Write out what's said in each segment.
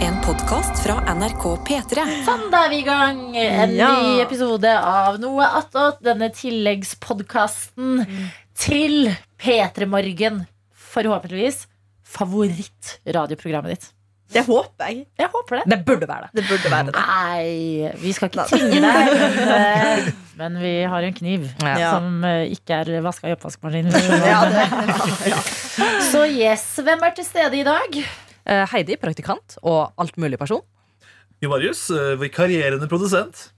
En podkast fra NRK P3. Sånn, da er vi i gang. En Ja. ny episode av Noe attåt. Denne tilleggspodkasten til P3 Morgen. Forhåpentligvis favorittradioprogrammet ditt. Det håper jeg. Jeg håper det. Det burde være det. Det burde være det. Nei, vi skal ikke Nei. tvinge deg. Men, eh, men vi har jo en kniv Ja. som eh, ikke er vaska i oppvaskmaskinen. Ja, det. Så yes, hvem er til stede i dag? Eh, Heidi, praktikant og alt mulig person. Ivarius, eh, vikarierende produsent.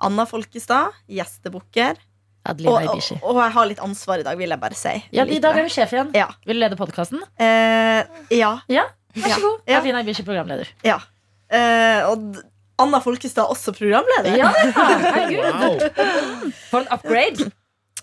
Anna Folkestad, gjestebukker. Og, Adelina og, Ibishi. og jeg har litt ansvar i dag, vil jeg bare si. Ja, I Litt dag bra. er du sjef igjen. Ja. Vil du lede podkasten? Eh, ja. Vær så Ja. god. Ja. Adelina Ibishi, programleder. ja. Eh, og d- Anna Folkestad også programleder. Ja, herregud. Wow. For en upgrade!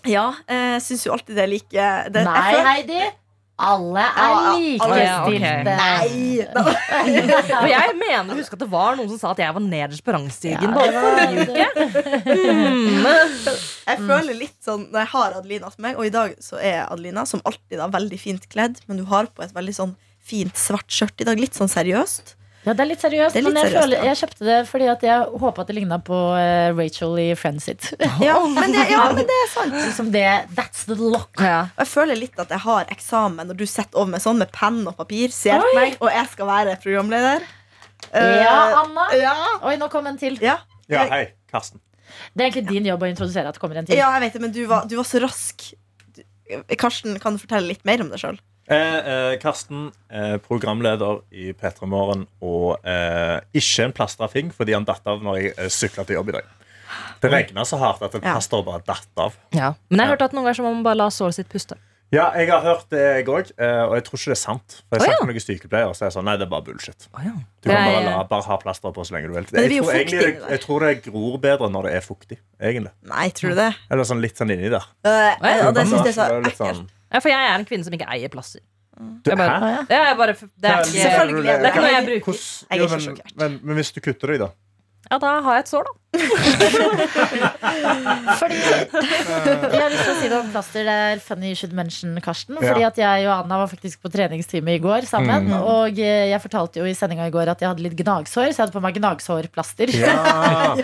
Ja, eh, Syns jo alltid det er like det, jeg Nei, føler- Heidi. Alle er Ja, alle- likestilte. Nei! da- Mm. Og jeg mener husk at det var noen som sa at jeg var nederst på rangstigen. bare forrige uke. Jeg føler litt sånn når jeg har Adelina som meg, og i dag så er Adelina som alltid da veldig fint kledd, men du har på et veldig sånn fint svart skjørt i dag. Litt sånn seriøst. Ja, det er litt seriøst, Det er litt men jeg, seriøst, føler, ja. jeg kjøpte det fordi at jeg håpa at det ligna på eh, Rachel i Friends sitt. Ja, men det, ja, men det er sant. Liksom det, that's the lock. Ja. Og Jeg føler litt at jeg har eksamen når du sitter over meg sånn med penn og papir, ser på meg, og jeg skal være programleder. Eh, Ja, Anna. ja. Oi, nå kom en til. Ja. Ja, hei, Karsten. Det er egentlig din jobb å introdusere at det kommer en til. ja, jeg vet det, men du var, du var så rask. Du- Karsten, kan du fortelle litt mer om deg sjøl? Eh, eh, Karsten, eh, programleder i P3 Morgen, og eh, ikke en plastra fing fordi han datt av når jeg eh, sykla til jobb i dag. Det regna så hardt at en Ja. plaster bare datt av. Ja. Men jeg hørte at noen ganger så må man bare la såret sitt puste. Ja, jeg har hørt det, jeg òg, eh, og jeg tror ikke det er sant. Å, For jeg har ja. snakket med noen sykepleiere, og så er jeg sånn Nei, det er bare bullshit. Du Det kan er- bare, la, bare ha plaster på så lenge du vil. Men det blir Jeg jo tror, fuktig egentlig, inni der. jeg, jeg tror det gror bedre når det er fuktig. Egentlig. Nei, tror du det? Eller sånn litt sånn inni der. Eh, Ja, og det syns jeg er så Det er litt ekkelt. sånn- Ja, for jeg er en kvinne som ikke eier plasser. Du, Jeg bare- hæ? Det er bare det er ikke, Selvfølgelig det er ikke noe jeg bruker. Hvordan- Jeg er Ja, ikke men- sjokkert. Men, men hvis du kutter deg, da? Ja, da har jeg et sår, da. Fordi, jeg har lyst til å si det om plaster. Det er funny you should mention, Karsten. Ja. Fordi at jeg og Anna var faktisk på treningstime i går sammen. Mm. Og eh, jeg fortalte jo i sendinga i går at jeg hadde litt gnagsår, så jeg hadde på meg gnagsårplaster. Ja.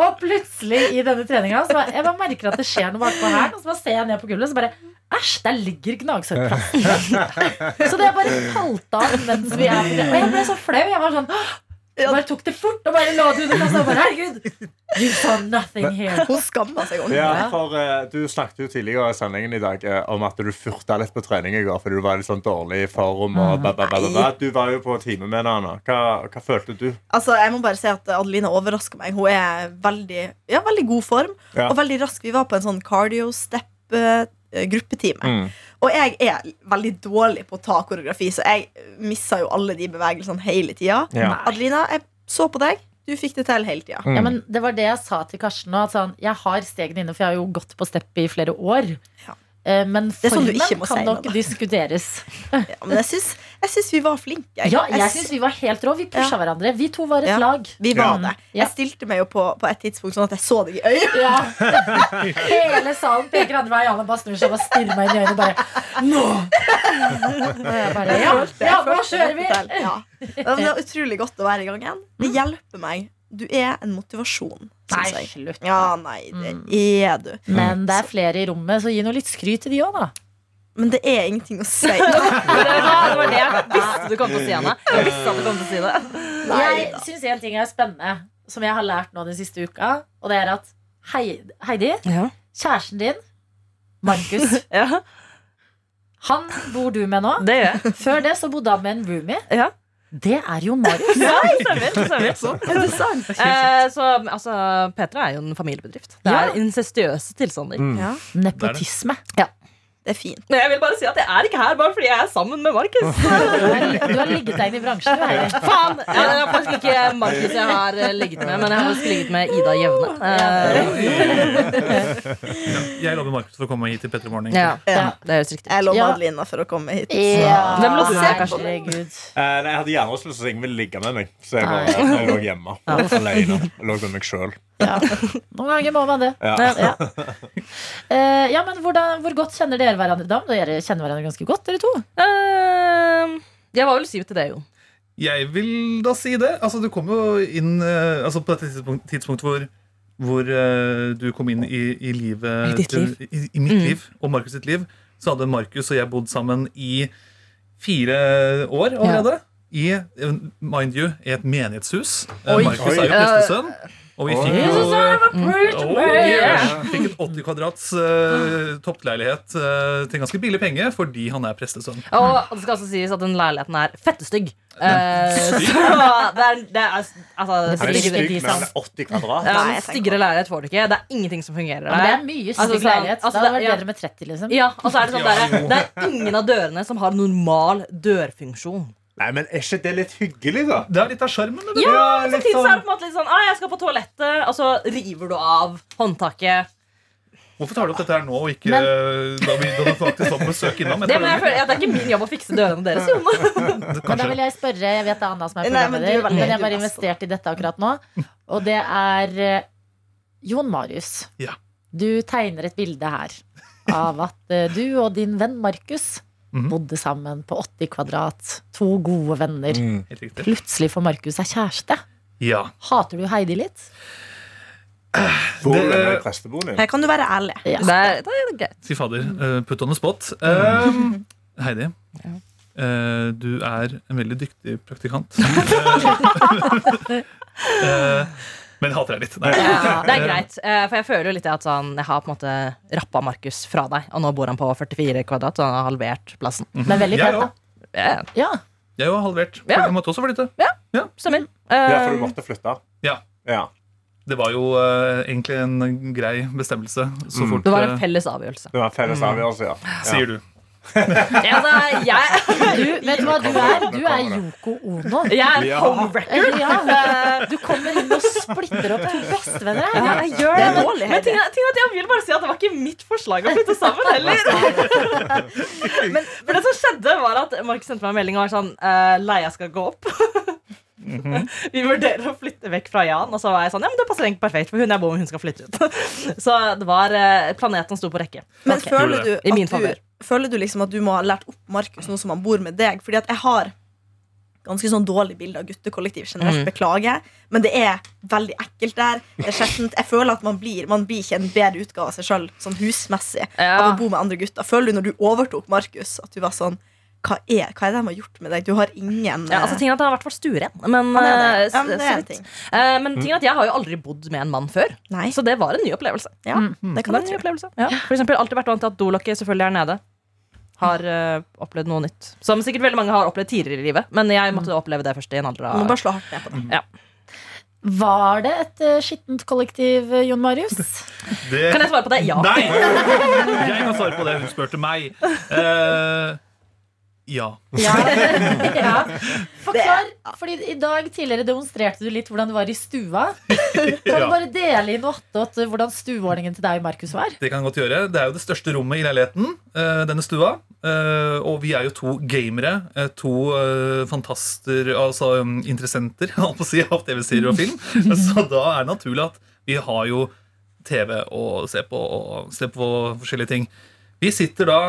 Og plutselig i denne treninga Så bare, jeg bare merker at det skjer noe bakpå her Og så bare ser jeg ned på gulvet Så bare, æsj, der ligger gnagsårplasten Så det bare falt av mens vi er på det Og jeg ble så flau, jeg var sånn «Åh!» Jeg bare tok det fort og bare la det under plassen Og bare, herregud, you saw nothing here Hun skammer seg ordentlig. Ja, for eh, Du snakket jo tidligere i sendingen i dag eh, om at du furta litt på trening i går fordi du var i litt sånn dårlig i form. og ba, ba, ba, ba, ba. Du var jo på time med en annen. Hva, hva følte du? Altså, jeg må bare si at Adelina overrasker meg. Hun er veldig, ja, veldig god form Ja. og veldig rask. Vi var på en sånn eh, cardio-step-gruppetime. Mm. Og jeg er veldig dårlig på å ta koreografi, så jeg missa jo alle de bevegelsene hele tida. Ja. Adelina, jeg så på deg. Du fikk det til hele tida. ja, men det var det jeg sa til Karsten nå, at sånn, Jeg har stegene inne, for jeg har jo gått på stepp i flere år Ja. Eh, Men er sånn du formen ikke må kan si noe, nok da. diskuteres Ja, men jeg syns, jeg syns vi var flinke. Ja, jeg synes vi var helt rå, vi pusha hverandre Vi to var et Ja. lag vi var det. Ja. Jeg stilte meg jo på, på et tidspunkt sånn at jeg så deg i øyet. Ja. Hele salen peker andre veien. Anne bare snur seg og bare stirrer meg inn i øynene. og Bare Nå! Og jeg bare, ja, ja, nå kjører vi! Mm. Ja. Men Det er utrolig godt å være i gang igjen. Det hjelper meg. Du er en motivasjon. Nei, Mm. Synes jeg. slutt. Ja, nei, det er du. Men det er flere i rommet, så gi nå litt skryt til de òg, da. Men det er ingenting å si. Det var det var det jeg visste du kom til å si, Anne. Jeg visste at du kom til å si det. Jeg Nei da. syns en ting er spennende, som jeg har lært nå den siste uka, og det er at Hei, Heidi, Ja. kjæresten din, Markus, Ja, han bor du med nå. det gjør jeg. Før det så bodde han med en roomie. Ja. Det er jo Marius. Ja, stemmer, stemmer. Interessant. Eh, så altså, Petra er jo en familiebedrift. Det Ja. er incestiøse tilstander. Ja, Nepotisme. det er fint. Men jeg vil bare si at jeg er ikke her bare fordi jeg er sammen med Markus. Du har, du har ligget deg inn i bransjen, du, Heidi. Faen! Ja, det er faktisk ikke Markus jeg har eh, ligget med, men jeg har faktisk ligget med Ida Jevne. Eh, Ja, jeg lover Markus for å komme hit til Petter Morning. ja, Ja. det høres riktig ut. Jeg lover Ja. Adelina for å komme hit. Ja, Hvem lå sist? herregud. Eh, nei, jeg hadde gjerne også lyst til å si at ingen ville ligge med meg, så jeg, Nei. bare, jeg lå hjemme alene. Jeg lå med meg selv Ja. Noen ganger må man det. Ja. Ja. Eh, ja, men hvordan, Hvor godt kjenner dere Ehm, hverandre da? Dere kjenner hverandre ganske godt, dere to. Eh, jeg var vel syv til det, jo. Jeg vil da si det. Altså, du kom jo inn eh, altså, på dette tidspunkt, tidspunktet hvor, hvor eh, du kom inn i, i livet I ditt til- I, i mitt Mm. liv og Markus sitt liv. Så hadde Markus og jeg bodd sammen i fire år allerede. I, eh, mind you, i et menighetshus. Eh, Oi. Markus er Oi. jo prestesønn. Og vi Oi. fikk jo Jesus, I'm a preacher Oh, man. yeah. Fikk en 80 kvadrats eh, toppleilighet eh, til ganske billig penge fordi han er prestesønn. Og det skal også sies at den leiligheten er fettestygg. Eh, så det er, det er altså, Er det det ligger stygg, ikke i men stand. 80 kvadrat? Ja, Nei, men jeg tenker Styggere leilighet får du ikke. Det er ingenting som fungerer Ja, men det der. er mye Altså, stygg sånn- leilighet. altså, Da hadde det vært ja. bedre med 30, liksom. Ja, og så er det sånn Ja, der, Det er ingen av dørene som har normal dørfunksjon. Nei, men er ikke det litt hyggelig, da? Det er litt av sjarmen. eller? Ja, men samtidig litt så er sånn- det på en måte litt sånn ah, 'Jeg skal på toalettet', og så river du av håndtaket. Hvorfor tar du opp dette her nå, og ikke eh, Men- da vi da det faktisk var på besøk innom? Jeg Det, tar må jeg det føle, ja, det er ikke min jobb å fikse dørene deres, Jone. med. Men da Kanskje. vil jeg spørre, jeg vet det er Anna som er Nei, men du er programleder, veldig- men, jeg du bare er best. investert i dette akkurat nå. Og det er eh, Jon Marius. Ja. Du tegner et bilde her av at eh, du og din venn Markus Mhm. bodde sammen på 80 kvadrat. To gode venner. Helt riktig. Plutselig får Markus seg kjæreste. Ja. Hater du Heidi litt? Bor du Det- i presteboligen? Her kan du være ærlig. Ja. Det er, det er greit. Si fader. eh, Put on the spot. Mm. Um, Heidi. eh, du er en veldig dyktig praktikant. Eh, Men jeg hater deg litt. Nei. Ja, det er greit. Eh, For jeg føler jo litt at sånn, jeg har på en måte rappa Markus fra deg, og nå bor han på 44 kvadrat, så han har halvert plassen. Men veldig Jeg pent, òg. da. Ja, Ja. Jeg er jo halvert. Ja. Jeg måtte også flytte. stemmer. Ja, for Eh, du måtte flytte? Ja. ja. Det var jo eh, egentlig en grei bestemmelse. Så Mm. fort det var en eh, felles avgjørelse. Det var en felles avgjørelse, ja. ja. Sier du. Ja, altså, jeg, Du, vet du hva du er? Du er Velkommen, Yoko Ono. jeg er Ja. en home wrecker. Ja, du kommer inn og splitter opp to bestevenner. her. Ja, jeg gjør Det det. er dårlig, Men Heidi. ting, er- ting er at jeg vil bare si at det var ikke mitt forslag å flytte sammen heller. Men, for det som skjedde, var at Markus sendte meg en melding og var sånn uh, Leia skal gå opp. Mhm. Vi vurderer å flytte vekk fra Jan, og så var jeg sånn Ja, men det passer egentlig perfekt, for hun jeg bor med, hun skal flytte ut. Så det var eh, Planeten sto på rekke. Men Ok. Gjorde føler, det. du I min at favør. du, føler du liksom at du må ha lært opp Markus nå som han bor med deg? Fordi at jeg har ganske sånn dårlig bilde av guttekollektiv generelt, Mm. beklager. Men det er veldig ekkelt der. Det er skjettent. Jeg føler at man blir, man blir ikke en bedre utgave av seg sjøl sånn husmessig av å bo med andre gutter. Føler du når du overtok Markus, at du var sånn hva er, hva er det de har gjort med deg? Du har ingen Ja, altså ting er at Han er i hvert fall stueren. Men, Han er det. eh, Ja, men det er så en vidt. ting. Eh, men ting er at jeg har jo aldri bodd med en mann før, Nei, så det var en ny opplevelse. ja, det kan jeg Det tro. var en opplevelse. Ja. For eksempel alltid vært vant til at dolokket selvfølgelig er nede. Har eh, opplevd noe nytt. Som sikkert veldig mange har opplevd tidligere i livet. Men jeg måtte oppleve det først i en alder Du må av bare slå hardt ned på det. Var det et eh, skittent kollektiv, eh, Jon Marius? Det Kan jeg svare på det? Ja. Nei! Jeg kan svare på det. Hun spurte meg. Eh, ja. Ja. ja. Forklar, fordi i dag tidligere demonstrerte du litt hvordan du var i stua. Kan du ja. bare dele inn åtte åtte hvordan stueordningen til deg og Markus var? Det kan jeg godt gjøre. Det er jo det største rommet i leiligheten. eh, denne stua. Eh, og vi er jo to gamere. eh, to eh, fantaster, altså um, interessenter, holdt på å si, av TV-serier og film. Så da er det naturlig at vi har jo TV å se på og se på forskjellige ting. Vi sitter da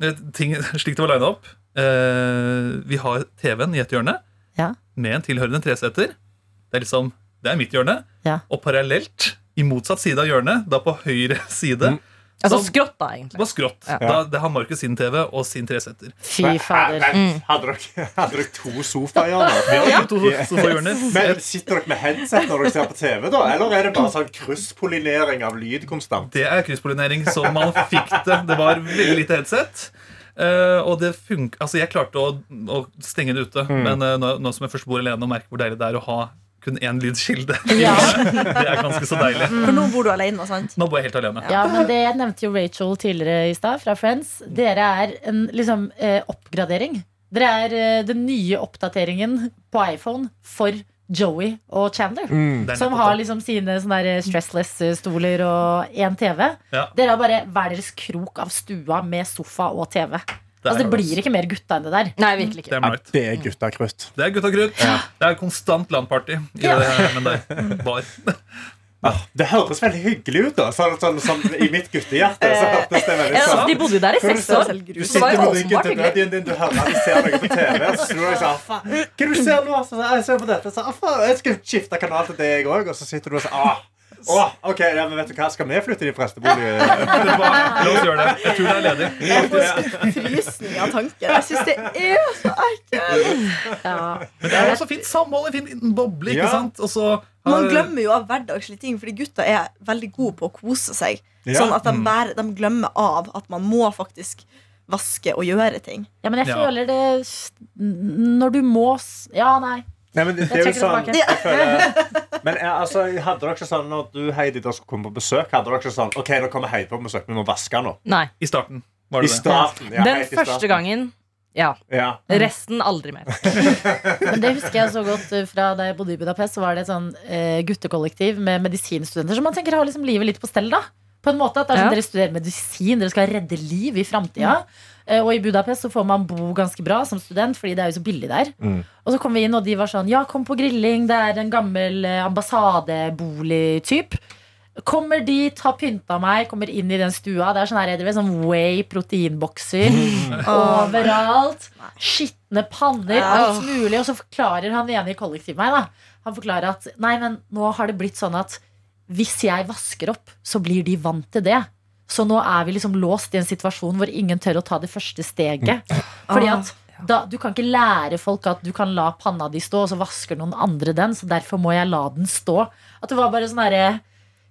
eh, ting, slik det var lina opp. Eh, vi har TV-en i et hjørne Ja. med en tilhørende treseter. Det er liksom, det er mitt hjørne. Ja. Og parallelt, i motsatt side av hjørnet, da på høyre side, Mm. Altså Så- skrått, da, egentlig. på skrått, Ja. da, det har Markus sin TV og sin treseter. Fy fader. Men, men, Hadde dere, hadde dere to sofaer? Ja. To Eh, sofahjørner. Men Sitter dere med headset når dere ser på TV, da? Eller er det bare sånn krysspollinering av lyd konstant? Det er krysspollinering som man fikk det. Det var veldig lite headset. Eh, og det funk altså, jeg klarte å, å stenge det ute, Mm. men eh, nå, nå som jeg først bor alene og merker hvor deilig det er å ha kun én lydskilde, Ja. det er ganske så deilig. For nå bor du alene, sant? Nå bor jeg helt alene. Ja, men det jeg nevnte jo Rachel tidligere i stad, fra Friends. Dere er en liksom eh, oppgradering. Dere er eh, den nye oppdateringen på iPhone for Joey og Chandler. Det Som er Mm. nettopp har det. liksom sine sånne der stressless-stoler og én TV. Ja. Dere har bare hver deres krok av stua med sofa og TV. Det, altså, er- det blir ikke mer gutta enn det der. Nei, virkelig Det ikke. er right. Det er guttakrutt. Det er gutta krutt. Det er konstant landparty i Ja. det her, men det er bar. Ah, Det høres veldig hyggelig ut, da. Sånn, sånn, sånn, I mitt guttehjerte så hørtes det veldig Altså, de sånn bodde jo der i seks år. du det var sitter jo med ryggen åpenbart til hyggelig. buddyen din, du hører at de ser noe på TV. Og så tror jeg sånn, faen, hva er det du ser nå? Så, sa jeg, jeg ser på dette, så, ah, faen, jeg skal skifte kanal til det jeg òg. Og så sitter du og sånn ah, å, ok, ja, men vet du hva, skal vi flytte i prestebolig? Det var, la oss gjøre det. Jeg tror det er ledig. Jeg får frysning av tanken. Jeg syns det er så ekkelt. Ja. Men det er også fint samhold, en fin liten boble. ikke Ja. sant? Og så Man har- glemmer jo av hverdagslige ting, fordi gutta er veldig gode på å kose seg. Ja. Sånn at de, bare, de glemmer av at man må faktisk vaske og gjøre ting. Ja, men jeg Ja. føler det s- n- Når du må s- Ja, nei. Nei, men det, Jeg det er jo trekker sånn det tilbake. jeg føler, Men jeg, altså, hadde dere ikke sånn når du Heidi da skulle komme på besøk, hadde dere ikke sånn OK, nå kommer Heidi på besøk, vi må vaske nå. Nei. I starten var I det det. starten. Ja, Den helt i starten. første gangen. Ja. Ja. Mm. Resten aldri mer. Men det husker jeg så godt eh, fra da jeg bodde i Budapest. Så var det et sånn eh, guttekollektiv med medisinstudenter. Så man tenker har liksom livet litt på stell, da. På en måte at det er sånn, Ja. Dere studerer medisin, dere skal redde liv i framtida. Eh, og i Budapest så får man bo ganske bra som student, fordi det er jo så billig der. Mm. Og så kom vi inn, og de var sånn Ja, kom på grilling, det er en gammel eh, ambassadebolig-typ. Kommer dit, har pynta meg, kommer inn i den stua. Det er sånn her, dere vet, sånn Way-proteinbokser overalt. Skitne panner, alt mulig. Og så forklarer han ene i kollektivet meg, da. Han forklarer at nei, men nå har det blitt sånn at hvis jeg vasker opp, så blir de vant til det. Så nå er vi liksom låst i en situasjon hvor ingen tør å ta det første steget. Fordi at da, du kan ikke lære folk at du kan la panna di stå, og så vasker noen andre den. Så derfor må jeg la den stå. At det var bare sånn herre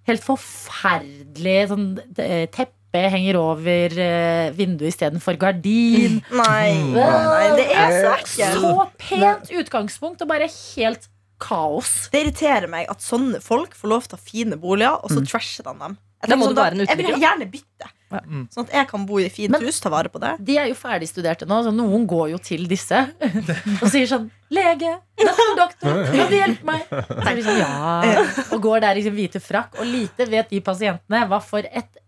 Helt forferdelig sånn eh, teppe henger over eh, vinduet istedenfor gardin. Nei, nei det er så ekkelt. Så pent utgangspunkt og bare helt kaos. Det irriterer meg at sånne folk får lov til å ha fine boliger, og så trasher de dem. Jeg, Da må tenker du sånn, være en jeg vil uteligger, gjerne bytte, Ja. sånn at jeg kan bo i et fint Men- hus, ta vare på det. De er jo ferdigstuderte nå, så noen går jo til disse og sier sånn Lege, doktor, doktor, kan du hjelpe meg? Så er de sånn, ja. Og går der i sin hvite frakk. Og lite vet de pasientene hva for et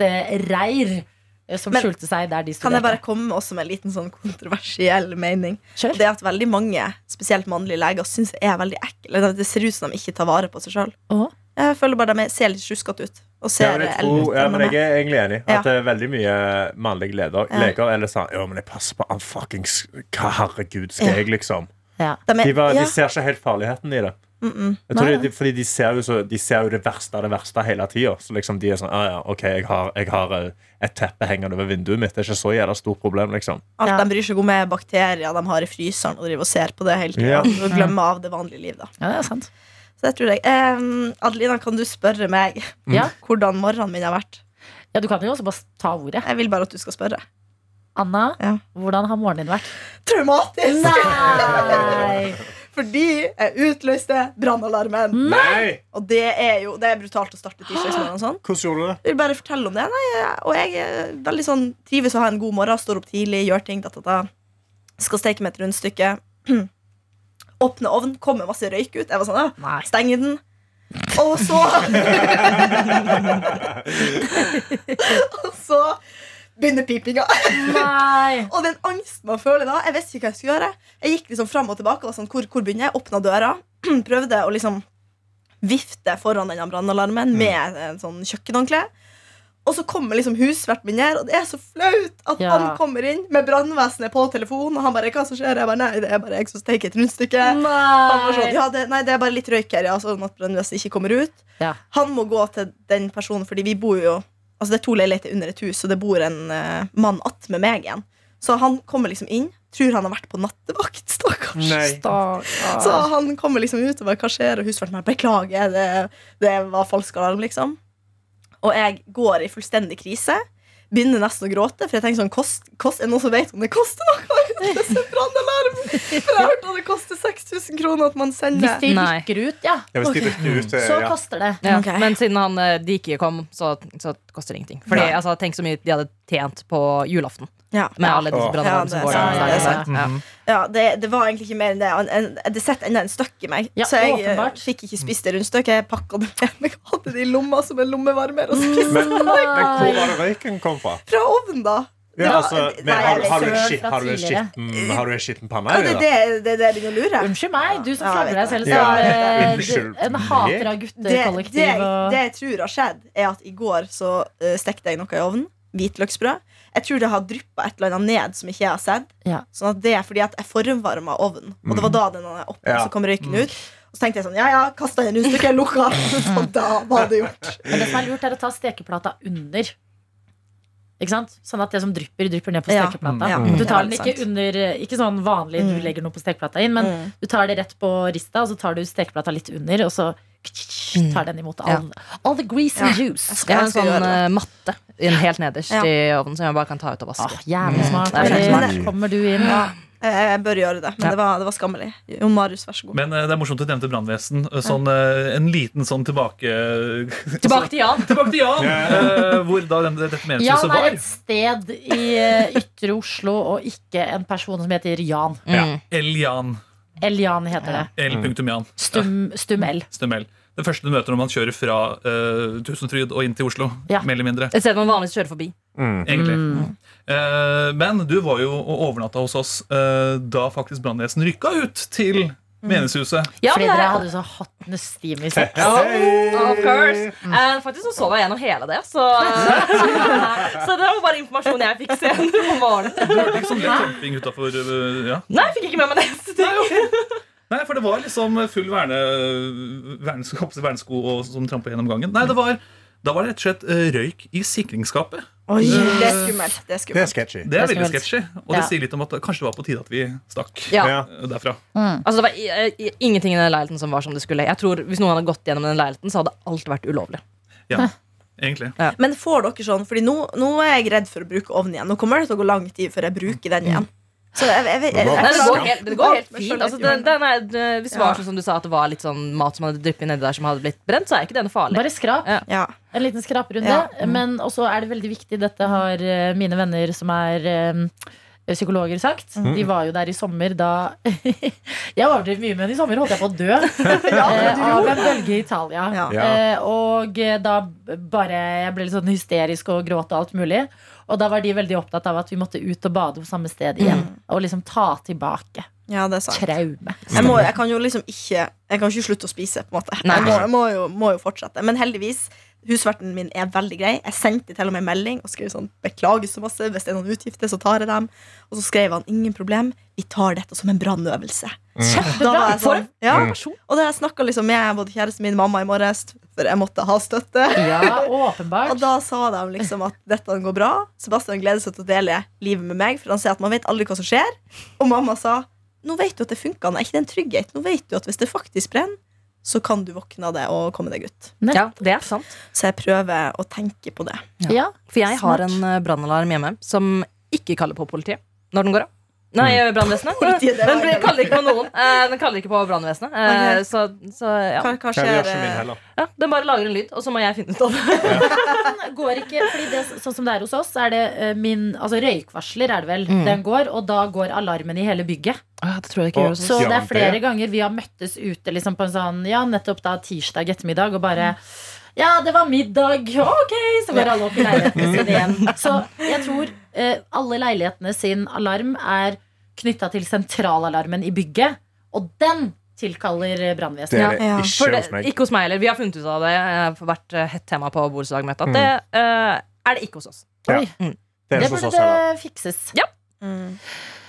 rottereir eh, som Men skjulte seg der de Kan jeg bare studerte. komme også med en liten sånn kontroversiell mening? Kjør. Og Det er at veldig mange, spesielt mannlige leger, syns jeg er veldig ekle. Det- Det ser ut som de ikke tar vare på seg sjøl. Åh. Jeg føler bare de er- ser litt sjuskete ut. Og ser Ja, men jeg, tror, ja, men jeg er egentlig enig Ja. at det er veldig mye mannlige leder, Ja. leger eller sånn Ja, men jeg passer på han fuckings Hva herregud skal Ja. jeg, liksom? Ja. de De, er, var, ja, de ser ikke helt farligheten i det. mm, mm. Jeg tror Nei. de, de, fordi de ser, jo så, de ser jo det verste av det verste hele tida. Så liksom de er sånn ah, ja, OK, jeg har, jeg har eh, et teppe hengende over vinduet mitt. Det er ikke så jævla stort problem, liksom. Alt Ja. de bryr seg om, er bakterier de har i fryseren, og driver og ser på det hele tiden Ja. Og glemmer av det vanlige liv, da. ja, det er sant. Så det tror jeg. Em, Adelina, kan du spørre meg Ja. hvordan morgenen min har vært? Ja, Du kan jo også bare ta ordet. Jeg vil bare at du skal spørre. Anna, Ja. hvordan har morgenen din vært? Traumatisk! Nei! Fordi jeg utløste brannalarmen. Nei! Og det er jo det er brutalt å starte tirsdagsmorgenen sånn. Hvordan gjorde du det? Jeg vil bare fortelle om det. Nei, jeg- og jeg er veldig sånn, trives å ha en god morgen, står opp tidlig, gjør ting. Da, da, da. Skal steke meg et rundstykke. Åpne ovn, kommer masse røyk ut. Jeg var sånn, ja, Nei. Stenger den. Og så Og så begynner pipinga. Nei. Og den angsten man føler da Jeg visste ikke hva jeg skulle gjøre. Jeg gikk liksom fram og tilbake. Og var sånn, hvor, hvor begynner jeg? Åpna døra. Prøvde å liksom vifte foran den brannalarmen med en sånn kjøkkenhåndkle. Og så kommer liksom husverten min her, og det er så flaut at Ja. han kommer inn med brannvesenet på telefonen. Og han bare 'Hva som skjer?' Jeg bare 'Nei, det er bare jeg som steker et rundstykke'. Han var sånn, Nei. ja, det, nei, det er bare litt røyk her, ja, sånn at brannvesenet ikke kommer ut. Ja. Han må gå til den personen, fordi vi bor jo Altså Det er to leiligheter under et hus, og det bor en eh, mann att med meg igjen. Så han kommer liksom inn, tror han har vært på nattevakt, stakkars. Stakkars. Så han kommer liksom ut og bare 'Hva skjer?' Og husverten bare 'Beklager, det, det var falsk alarm', liksom. Og jeg går i fullstendig krise. Begynner nesten å gråte, for jeg tenker sånn kost, kost, Er det noen som vet om det koster noe? Det er så brannalarm! For jeg hørte at det koster 6000 kroner at man sender Hvis de Nei. rykker ut, ja, Ja, hvis de rykker ut, eh, så ja. koster det. Ja. Ok. Men siden han, eh, de ikke kom, så, så koster det ingenting. Fordi, altså, tenk så mye de hadde tjent på julaften. Ja. Med alle disse Ja, brannene det som er går sant, der. det er sant. Ja. Ja, det, det var egentlig ikke mer enn det. En- en- Det setter enda en støkk i meg. Ja, så jeg eh, åpenbart. fikk ikke spist det rundstykket. Jeg pakka det med meg, hadde det i lomma som en lommevarmer. Og spiste Men, men hvor Nei. var det røyken kom fra? fra ovnen, da. Det Ja, var- altså, men Nei, har, jeg har, du en ser fra skitten, har du en tidligere. skitten, har du en skitten panne? Ja, det er eller? det, det, er det jeg begynner å lure. Unnskyld meg, du som Ja, jeg flagger deg vet selv det. som Ja, eh, unnskyld. en hater av Det, det, guttekollektiv. jeg- og- det jeg tror har skjedd, er at i går så eh, stekte jeg noe i ovnen. Hvitløksbrød. Jeg tror det har dryppa et eller annet ned som ikke jeg har sett. Ja. Sånn at det er fordi at jeg formvarma ovnen, og det var da den var oppe, Ja. så kom røyken Mm. ut. Og så tenkte jeg sånn, ja ja, kasta den ut, stykket lukka. Så da var det gjort. Men det som er lurt, er å ta stekeplata under. Ikke sant? Sånn at det som drypper, drypper ned på Ja. Mm, stekeplata. Ja. Du tar Ja, den det er sant. ikke under Ikke sånn vanlig du Mm. legger noe på stekeplata inn, men Mm. du tar det rett på rista, og så tar du stekeplata litt under, og så tar den imot all, all the grease and juice. Mm. Ja, Jeg har jeg en skal sånn gjøre det. eh, matte i en helt nederst Ja. i ovnen som jeg bare kan ta ut og vaske. Åh, jævlig Mm. smart. Det er Eller, smart. der kommer du inn. Eh, Jeg bør gjøre det, men Ja. det, var, det var skammelig. Jon Marius, vær så god. Men eh, det er morsomt du nevnte brannvesen. Eh, Sånn, eh, en liten sånn tilbake... Tilbake til Jan. Tilbake til Jan! eh, hvor da den, dette Jan meningshuset er var. et sted i eh, ytre Oslo, og ikke en person som heter Jan. Ja. L-Jan. L-Jan heter det. Mm. L-punktum-Jan. Stum, stum L. Stemmer. Det første du møter når man kjører fra eh, Tusenfryd og inn til Oslo. Ja. Mer eller mindre. Et sted man vanligvis kjører forbi. egentlig. Eh, men du var jo og overnatta hos oss eh, da faktisk brannvesenet rykka ut til menighetshuset. Ja, Fordi det er- dere hadde så hattende stim i sekken. Of course. Eh, faktisk så sov jeg gjennom hele det, så, så det var bare informasjon jeg fikk senere på morgenen. Du hørte liksom litt tramping utenfor, eh, ja. Nei, jeg fikk ikke med meg det. Så det- Nei, for det var liksom full verne, vernesko, hoppsi, vernesko og, som trampa gjennom gangen. Nei, det var, da var det rett og slett eh, røyk i sikringsskapet. Oi, det er skummelt. Det er Det er skummelt. sketchy. Det er Det er veldig skummelt. sketsjy. Og det Ja. sier litt om at det kanskje det var på tide at vi stakk Ja. Ja. eh, derfra. Altså, det var i- i- ingenting i den leiligheten som var som det skulle. Jeg tror Hvis noen hadde gått gjennom den leiligheten, så hadde alt vært ulovlig. Ja, egentlig. Men får dere sånn, fordi nå, nå er jeg redd for å bruke ovnen igjen. Nå kommer det til å gå lang tid før jeg bruker den igjen. Så jeg, jeg, jeg, jeg, jeg, Nei, det, går helt, det går helt Jeg skjønner fint. Altså, ikke den, hvordan- den er, det- hvis det Ja. var sånn som du sa, at det var litt sånn mat som hadde dryppet nedi der, som hadde blitt brent, så er ikke den farlig. Bare skrap. ja. En liten skraprunde. Ja. Men også er det veldig viktig, dette har eh, mine venner som er eh, psykologer sagt. Mm. De var jo der i sommer da Jeg overdrev mye, men i sommer holdt jeg på å dø eh, av en bølge i Italia. Ja. Ja. Eh, og eh, da b- bare Jeg ble litt sånn hysterisk og gråt og alt mulig. Og da var de veldig opptatt av at vi måtte ut og bade på samme sted Mm. igjen. Og liksom ta tilbake ja, det er sant. traume. Jeg, må, jeg kan jo liksom ikke Jeg kan ikke slutte å spise, på en måte. Nei. Jeg må, jeg må, jo, må jo fortsette. Men heldigvis, husverten min er veldig grei. Jeg sendte til og med melding og skrev sånn 'Beklager så masse. Hvis det er noen utgifter, så tar jeg dem.' Og så skrev han 'Ingen problem. Vi tar dette som en brannøvelse'. Mm. Da var jeg sånn, ja. Og da har jeg snakka liksom med både kjæresten min og mamma i morges, for jeg måtte ha støtte. Ja, Og åpenbart. da sa de liksom at dette går bra. Sebastian gleder seg til å dele livet med meg, for han sier at man vet aldri hva som skjer. Og mamma sa nå vet du at det funka. Er ikke det en trygghet? Nå vet du at hvis det faktisk brenner, så kan du våkne av det og komme deg ut. Ja, det er sant. Så jeg prøver å tenke på det. Ja. For jeg har Smart. en eh, brannalarm hjemme som ikke kaller på politiet når den går av. Nei, brannvesenet. Politiet, det var Den blir- ikke- kaller ikke på noen. Eh, Den kaller ikke på brannvesenet. Eh, Ok. Så, så ja. Hva, hva Jeg skjer? gjør ikke min eh, heller. ja. Den bare lager en lyd, og så må jeg finne ut av det. går ikke, fordi det, sånn som det er hos oss, er det eh, min altså røykvarsler er det vel, Mm. den går, og da går alarmen i hele bygget. Det tror jeg ikke gjør hos oss. Så Ja, det er flere det. ganger vi har møttes ute liksom på en sånn, ja, nettopp da tirsdag ettermiddag, og bare ja, det var middag. Ok, så går alle opp i leiligheten sin igjen. Så jeg tror eh, alle leilighetene sin alarm er knytta til sentralalarmen i bygget, og den tilkaller eh, Det brannvesenet. er det Ja. ikke For det, hos meg. ikke hos meg heller. Vi har funnet ut av det. Det har vært eh, hett tema på borettslagmøtet. At Mm. det eh, er det ikke hos oss. Ja. Oi, Det er det hos oss burde heller. fikses. Mm.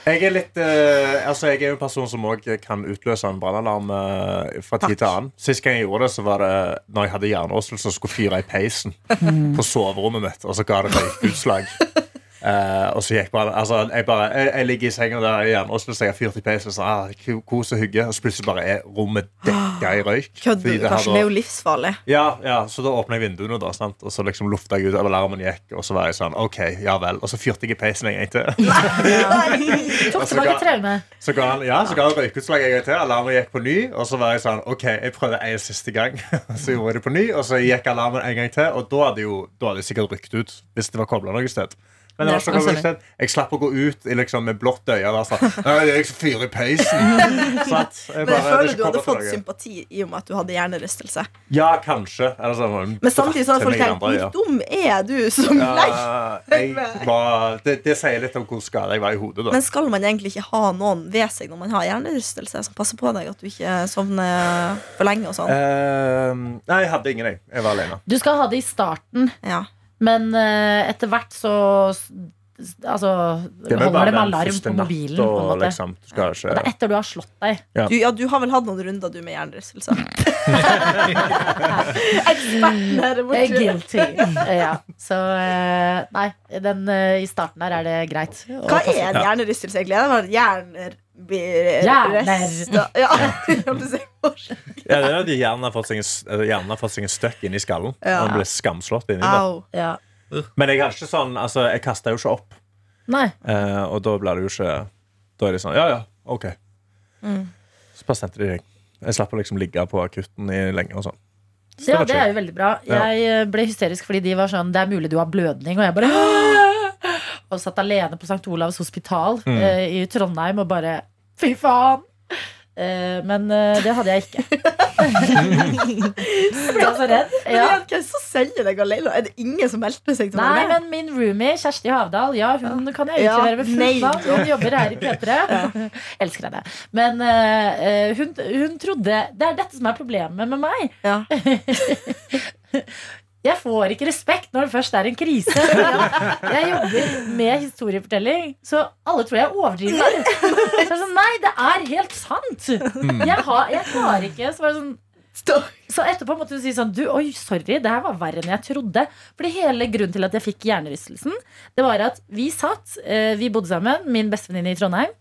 Jeg er litt eh, Altså, jeg er jo en person som også kan utløse en brannalarm eh, fra tid til annen. Sist gang jeg gjorde det, så var det når jeg hadde hjernerystelse og skulle fyre i peisen Mm. på soverommet mitt, og så ga det røykutslag. Eh, og så gikk bare Altså, jeg bare Jeg, jeg ligger i senga der i hjernerystelse, jeg har fyrt i peisen, sånn, ah, ko- kos og hygge, og så plutselig bare er rommet dekka i røyk. Kødder Fordi du, det har Karsten? Det da- er jo livsfarlig. ja, ja, så da åpna jeg vinduene, da, sant? og så liksom lufta jeg ut, og alarmen gikk. Og så var jeg sånn, ok, ja vel Og så fyrte jeg i peisen en gang til. Tok Altså, tilbake ga- traume. Så ga han, ja, så ga han røykutslag en gang til. Alarmen gikk på ny. Og så var jeg sånn, ok, jeg prøvde en siste gang. så gjorde jeg det på ny, og så gikk alarmen en gang til. Og da hadde jo da hadde jeg sikkert rykt ut hvis det var kobla noe sted. Men det var så Nei, altså. sorry. komplisert. jeg slapp å gå ut i, liksom, med blått øye. Og være sånn, Nei, det er jeg som fyrer i peisen. Så at Men jeg jeg bare- det er føler ikke du hadde kommet til fått noe. sympati i og med at du hadde hjernerystelse. Ja, kanskje. Eller sånn, Men samtidig så hadde folk dratt tenkt til meg hvor i andre øyet. dum er du som leik? Ja, jeg var, det, det sier litt om hvor skada jeg var i hodet. da Men skal man egentlig ikke ha noen ved seg når man har hjernerystelse, som passer på deg at du ikke sovner for lenge og sånn? Eh, Nei, jeg hadde ingen, jeg. Jeg var alene. Du skal ha det i starten, Ja. men eh, etter hvert så s- Altså, vel bare holder det med den alarm første på mobilen. natt På og en måte. liksom, du skal ikke- Det er etter du har slått deg. Du, ja, du har vel hatt noen runder, du, med hjernerystelse? Eksperten her Eh, borte. Guilty. Eh, ja. Så eh, nei, den, eh, i starten her er det greit. å Hva passe- er en hjernerystelse, egentlig? Det var hjerner... blir- Hjerner. resta- Ja, jeg holdt på å si forskjell. Ja, det er at Hjernen har fått seg en s- eh, hjernen har fått seg en støkk inni skallen. Ja. Og den ble skamslått inni. da. Au. Ja. Men jeg, har ikke sånn, altså, jeg kasta jo ikke opp. Nei. Eh, og da blir det jo ikke Da er de sånn Ja, ja, OK. Mm. Så bare sendte de deg. Jeg slapp å liksom ligge på akutten i lenge. og sånn Så ja, det var det er jo veldig bra. Ja. Jeg eh, ble hysterisk fordi de var sånn Det er mulig du har blødning. Og jeg bare Og satt alene på St. Olavs hospital eh, i Trondheim og bare Fy faen! Eh, men eh, det hadde jeg ikke. Jeg ble så redd. Men Ja. igjen, hvem som sender deg alene? Er det ingen som meldte seg til å Nei, være med? men min roomie, Kjersti Havdal, ja, hun kan jeg Ja, utlevere ved fullt nailed navn. Hun jobber her i P3. Elsker henne. Men eh, eh, hun, hun trodde Det er dette som er problemet med meg. Ja. Jeg får ikke respekt når det først er en krise. Jeg jobber med historiefortelling, så alle tror jeg overdriver. Så jeg er sånn, Nei, det er helt sant! Jeg, har, jeg klarer ikke. Så, var det sånn, så etterpå måtte hun si sånn du, Oi, sorry, det her var verre enn jeg trodde. Fordi hele grunnen til at jeg fikk hjernerystelsen, det var at vi satt, eh, vi bodde sammen, min bestevenninne i Trondheim,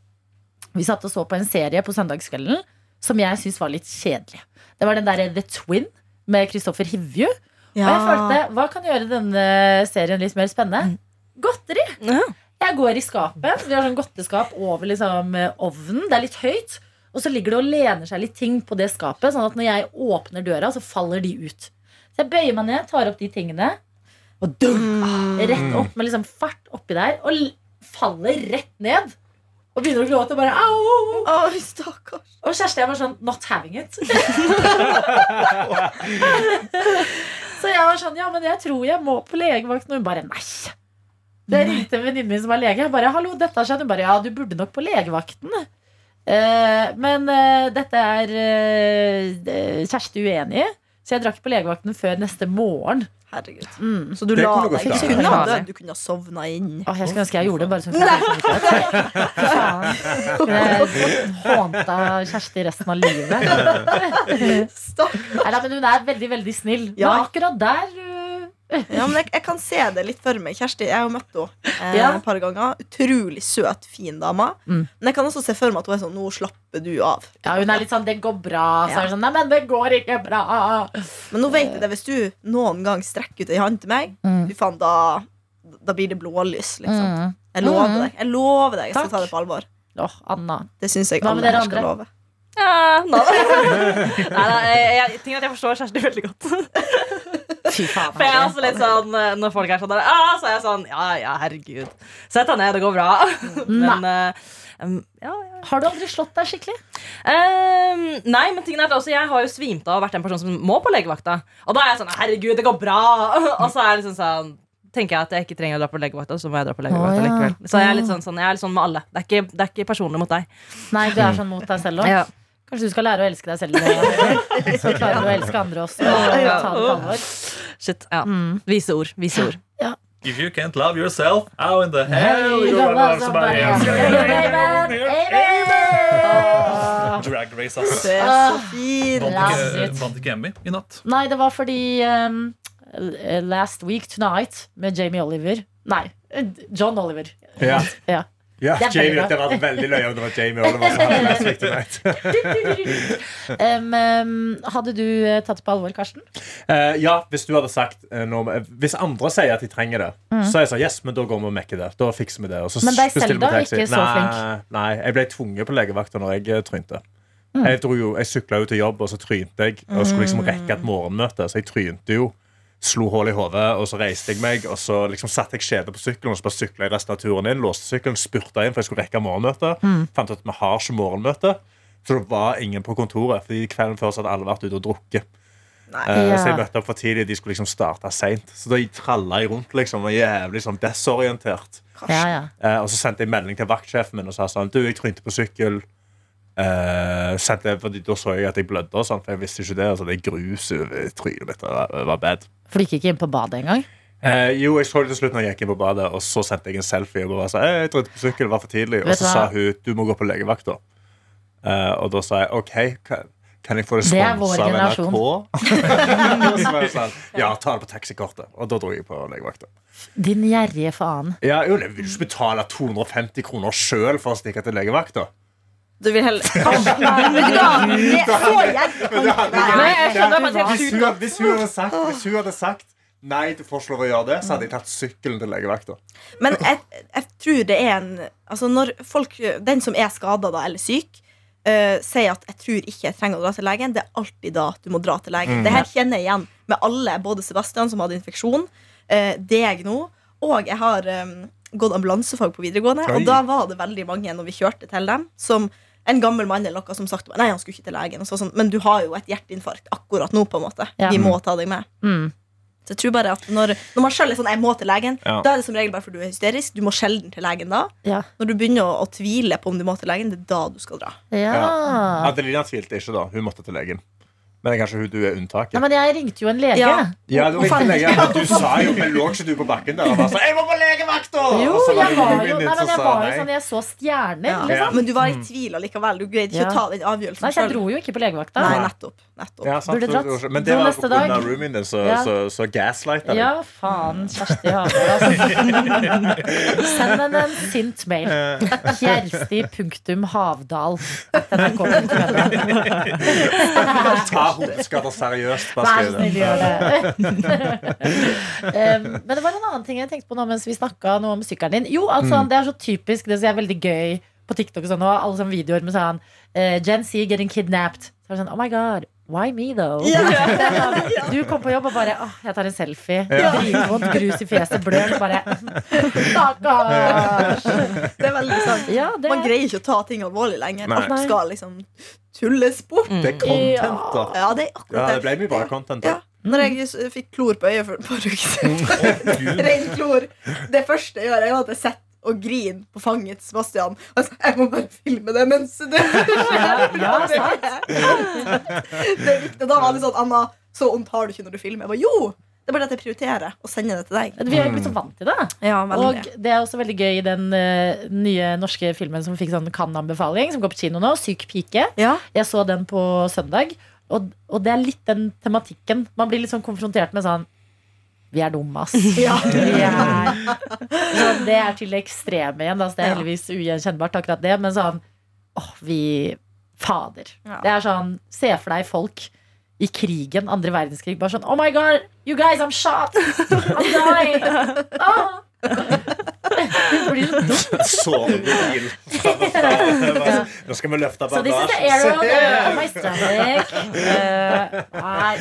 vi satt og så på en serie på søndagskvelden som jeg syntes var litt kjedelig. Det var den derre The Twin med Kristoffer Hivju. Og jeg følte, hva kan gjøre denne serien litt mer spennende? Godteri! Ja. Jeg går i skapet, vi har sånn godteskap over liksom eh, ovnen, det er litt høyt. Og så ligger det og lener seg litt ting på det skapet, sånn at når jeg åpner døra, så faller de ut. Så jeg bøyer meg ned, tar opp de tingene, og dunk, rett opp med liksom fart oppi der, og l- faller rett ned. Og begynner å gråte og bare au! au, au. Oi, stakkars. Og Kjersti jeg var sånn Not having it. så jeg var sånn Ja, men jeg tror jeg må på legevakten. Og hun bare nei. Det ringte en venninne min som er lege. Jeg bare hallo, dette har skjedd. Hun bare ja, du burde nok på legevakten. Eh, men eh, dette er eh, Kjersti uenig i, så jeg drakk på legevakten før neste morgen. Herregud. Mm. Så du Det la kunne deg gått Du bra. kunne ha dødd, du kunne ha sovna inn. Åh, jeg skulle ønske jeg gjorde det, bare sånn for Faen. Hånta Kjersti resten av livet. Stakkars. Nei, nei, men hun er veldig, veldig snill. Ja. Ja. Men akkurat der øh, Ja, men jeg, jeg kan se det litt for meg. Kjersti, jeg har jo møtt henne eh, Ja. et par ganger. Utrolig søt, fin dame. Mm. Men jeg kan også se for meg at hun er sånn Nå slapper du av. Ja, hun er litt sånn 'det går bra', så Ja. er hun sånn 'nei, men det går ikke bra'. Men nå vet jeg det, hvis du noen gang strekker ut ei hånd til meg, Mm. fy faen, da, da blir det blålys, liksom. Mm. Jeg lover Mm. deg. Jeg lover deg, jeg skal Takk. ta det på alvor. Åh, Anna. Det syns jeg Hva med alle dere her skal andre? love. Ja, nei, nei, jeg, jeg, ting er at jeg forstår Kjersti veldig godt. Fy faen. For jeg er også litt sånn, eh, Når folk er sånn der, ah, så er jeg sånn Ja, ja, herregud. Sett deg ned, det går bra. Men eh, um, ja, ja. Har du aldri slått deg skikkelig? Ehm, nei, men tingen er at også, jeg har jo svimt av og vært en person som må på legevakta. Og da er jeg sånn Herregud, det går bra! og så er jeg liksom sånn Tenker jeg at jeg ikke trenger å dra på legevakta, så må jeg dra på legevakta Å, ja. Mm. likevel. Så jeg er litt sånn, sånn, jeg er litt sånn med alle. Det er ikke, det er ikke personlig mot deg. Nei, du er sånn mot deg selv òg. Ja. Kanskje du skal lære å elske deg selv. Lea. Så klarer du å elske andre også. Og Ja. ta det på alvor. Shit, ja. Mm. Vise ord. Vise ord. If you can't love yourself, how in the hell you gonna love somebody else? Amen. Drag race, ass. Du er så Ah. fin. Vant ikke, vant ikke Emmy i natt. Nei, det var fordi ehm, eh, Last Week Tonight med Jamie Oliver Nei, eh, John Oliver. Ja, Ja. ja Det er Jamie, veldig bra. det var veldig løye om det var Jamie Oliver som hadde mest viktig night. Em, em, hadde du eh, tatt det på alvor, Karsten? Eh, ja, hvis du hadde sagt eh, noe om- eh, Hvis andre sier at de trenger det, så er jeg sånn Yes, men da går vi og mekker det. Da fikser vi det. Og så Mm. Men deg selv bestiller vi da, taxi. ikke så Nei, nei, jeg ble tvunget på legevakta når jeg eh, trynte. Mm. Jeg, dro jo- jeg sykla jo til jobb, og så trynte jeg. Og skulle liksom rekke et morgenmøte, så jeg trynte jo slo hull i hodet, og så reiste jeg meg, og så liksom satte jeg kjede på sykkelen, og så bare sykla jeg resten av turen inn, låste sykkelen, spurta inn, for jeg skulle rekke morgenmøtet. Mm. Fant ut at vi har ikke morgenmøte. Så det var ingen på kontoret, fordi kvelden før så hadde alle vært ute og drukket. Eh, Så jeg Ja. møtte opp for tidlig, de skulle liksom starte seint. Så da tralla jeg rundt, liksom, og jævlig sånn desorientert. Ja, ja. Eh, og så sendte jeg melding til vaktsjefen min og sa sånn Du, jeg trynte på sykkel. Eh, sendte, fordi da så jeg at jeg blødde, og sånn, for jeg visste ikke det. Og så hadde jeg grus over trynet mitt. og Det var bad. For du gikk ikke inn på badet engang? Eh, jo, jeg så det til slutt når jeg gikk inn på badet, og så sendte jeg en selfie. Og bare sa, «Eh, jeg trynte på sykkel, var for tidlig Og Vet så du hva? sa hun du må gå på legevakta. Eh, og da sa jeg OK, kan, kan jeg få det Det er vår sponsa av generasjon. NRK? Og så var jeg sånn, ja, ta det på taxikortet. Og da dro jeg på legevakta. Din gjerrige faen. Ja, jo, jeg vil ikke betale 250 kroner sjøl for å stikke til legevakta. Du vil heller Vet du hva? Det er så gjerrig. Nei, jeg skjønner, men det er helt hvis, hun, hadde- hvis, hun hadde sagt, hvis hun hadde sagt nei, du får ikke lov å gjøre det, så hadde jeg tatt sykkelen til legevakta. Men jeg, jeg tror det er en Altså når folk, Den som er skada eller syk, eh, sier at 'jeg tror ikke jeg trenger å dra til legen', det er alltid da du må dra til legen. Det her kjenner jeg igjen med alle, både Sebastian, som hadde infeksjon, eh, deg nå, og jeg har eh, gått ambulansefag på videregående, Oi. og da var det veldig mange når vi kjørte til dem, som en gammel mann eller noe som sagt til meg, Nei, han skulle ikke til legen. Og så, var det sånn, Men du har jo et hjerteinfarkt akkurat nå, på en måte. Ja. Vi må ta deg med. Mm. Så jeg tror bare at når, når man selv er sånn, jeg må til legen Ja. Da er det som regel bare fordi du er hysterisk Du må sjelden til legen da Ja. Når du begynner å, å tvile på om du må til legen Det er da du skal dra ja. Adelina tvilte ikke, da. Hun måtte til legen. Men kanskje hun, du er unntaket. Nei, men jeg ringte jo en lege. Ja. Ja, du, var ikke til legen, men du sa jo Men lå ikke du på bakken der og bare sa 'Jeg må på legevakta!' Jo, Og så var jeg det var hun jo, din nei, men som jeg sa var jo nei. sånn Jeg så stjerner, ja. liksom. Men du var Mm. i tvil allikevel Du greide ikke Ja. å ta den avgjørelsen Nei, så jeg selv. dro jo ikke på legevakta. Nei, nettopp, nettopp. Ja, sant, Burde så- dratt. Men det Dro var neste på grunn dag. av roomien din, så, Ja. så, så gaslighta Ja, faen, Kjersti Hagen. altså. Send henne en sint mail. Kjersti punktum Havdal. NRK.no. Ta hodeskader seriøst. bare Vær så skriv det. snill, gjør det. Um, Men det var en annen ting jeg tenkte på nå mens vi snakka noe om sykkelen din. Jo, altså, Det er så typisk. Det som er veldig gøy på TikTok og sånn, og alle sånne videoer med sånn eh, Gen Z getting kidnapped. Så er det sånn, oh my god, why me though? sånn, Du kom på jobb og bare åh, jeg tar en selfie. Dritvondt, grus i fjeset, blør. så Bare stakkars. Det er veldig sant Ja, det Man greier ikke å ta ting alvorlig lenger Nei. Alt skal liksom tulles bort Mm. Det er content, da. Ja, det er Ja, akkurat det ble mye bra content. Ja. da. Når jeg s- fikk klor på øyet for et par uker siden Ren klor Det første jeg gjør er jo at jeg setter og griner på fanget til Sebastian altså, Jeg må bare filme det mens det skjer ja, det, er viktig Og Da var alle sånn Anna, så ondt har du ikke når du filmer Jeg bare, jo, det er bare det at jeg prioriterer Å sende det til deg Vi er jo blitt så Mm. vant til det. Ja, Og det er også veldig gøy i den eh, nye norske filmen som fikk sånn Cannes-anbefaling, som går på kino nå, 'Syk pike'. ja. Jeg så den på søndag, og, og det er litt den tematikken. Man blir litt sånn konfrontert med sånn Vi er dumme, ass. Vi er. Så det er til det ekstreme igjen. Da, så det er Ja. heldigvis ugjenkjennbart, akkurat det. Men sånn Åh, vi Fader. Ja. Det er sånn Se for deg folk i krigen, andre verdenskrig, bare sånn Oh my God! You guys, I'm shot! I'm dying! Ah! Det blir så dumt. Sovebil. Nå skal vi løfte Så this is the bandasjen. arrow on the- on my stomach. Eh, nei.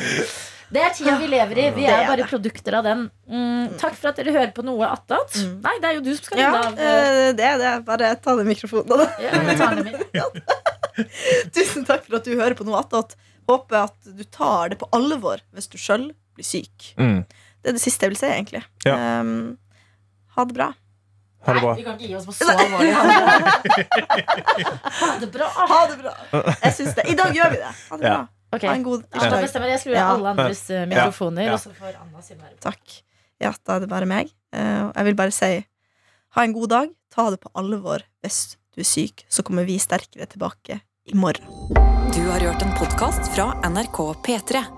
Det er tida vi lever i. Vi er er bare det. produkter av den. Mm, takk for at dere hører på noe attåt. Nei, det er jo du som skal Mm. ja runde av. eh, eh, det er det Bare ta den mikrofonen da. ja, jeg tar den min. Tusen takk for at du hører på noe attåt. Håper at du tar det på alvor hvis du sjøl blir syk. Mm. Det er det siste jeg vil si, egentlig. Ja. Um, ha det bra. Ha det bra. Nei, vi kan ikke gi oss på så alvorlig. Ha det bra. Ha det bra! Jeg syns det. I dag gjør vi det. Ha det bra. Ja. Ok, Ha en god Anna tirsdag. bestemmer. Jeg skrur Ja. av alle andres eh, mikrofoner, Ja. og så får Anna sin være Takk. Ja, da er det bare meg. Eh, og jeg vil bare si ha en god dag. Ta det på alvor hvis du er syk. Så kommer vi sterkere tilbake i morgen. Du har hørt en podkast fra NRK P3.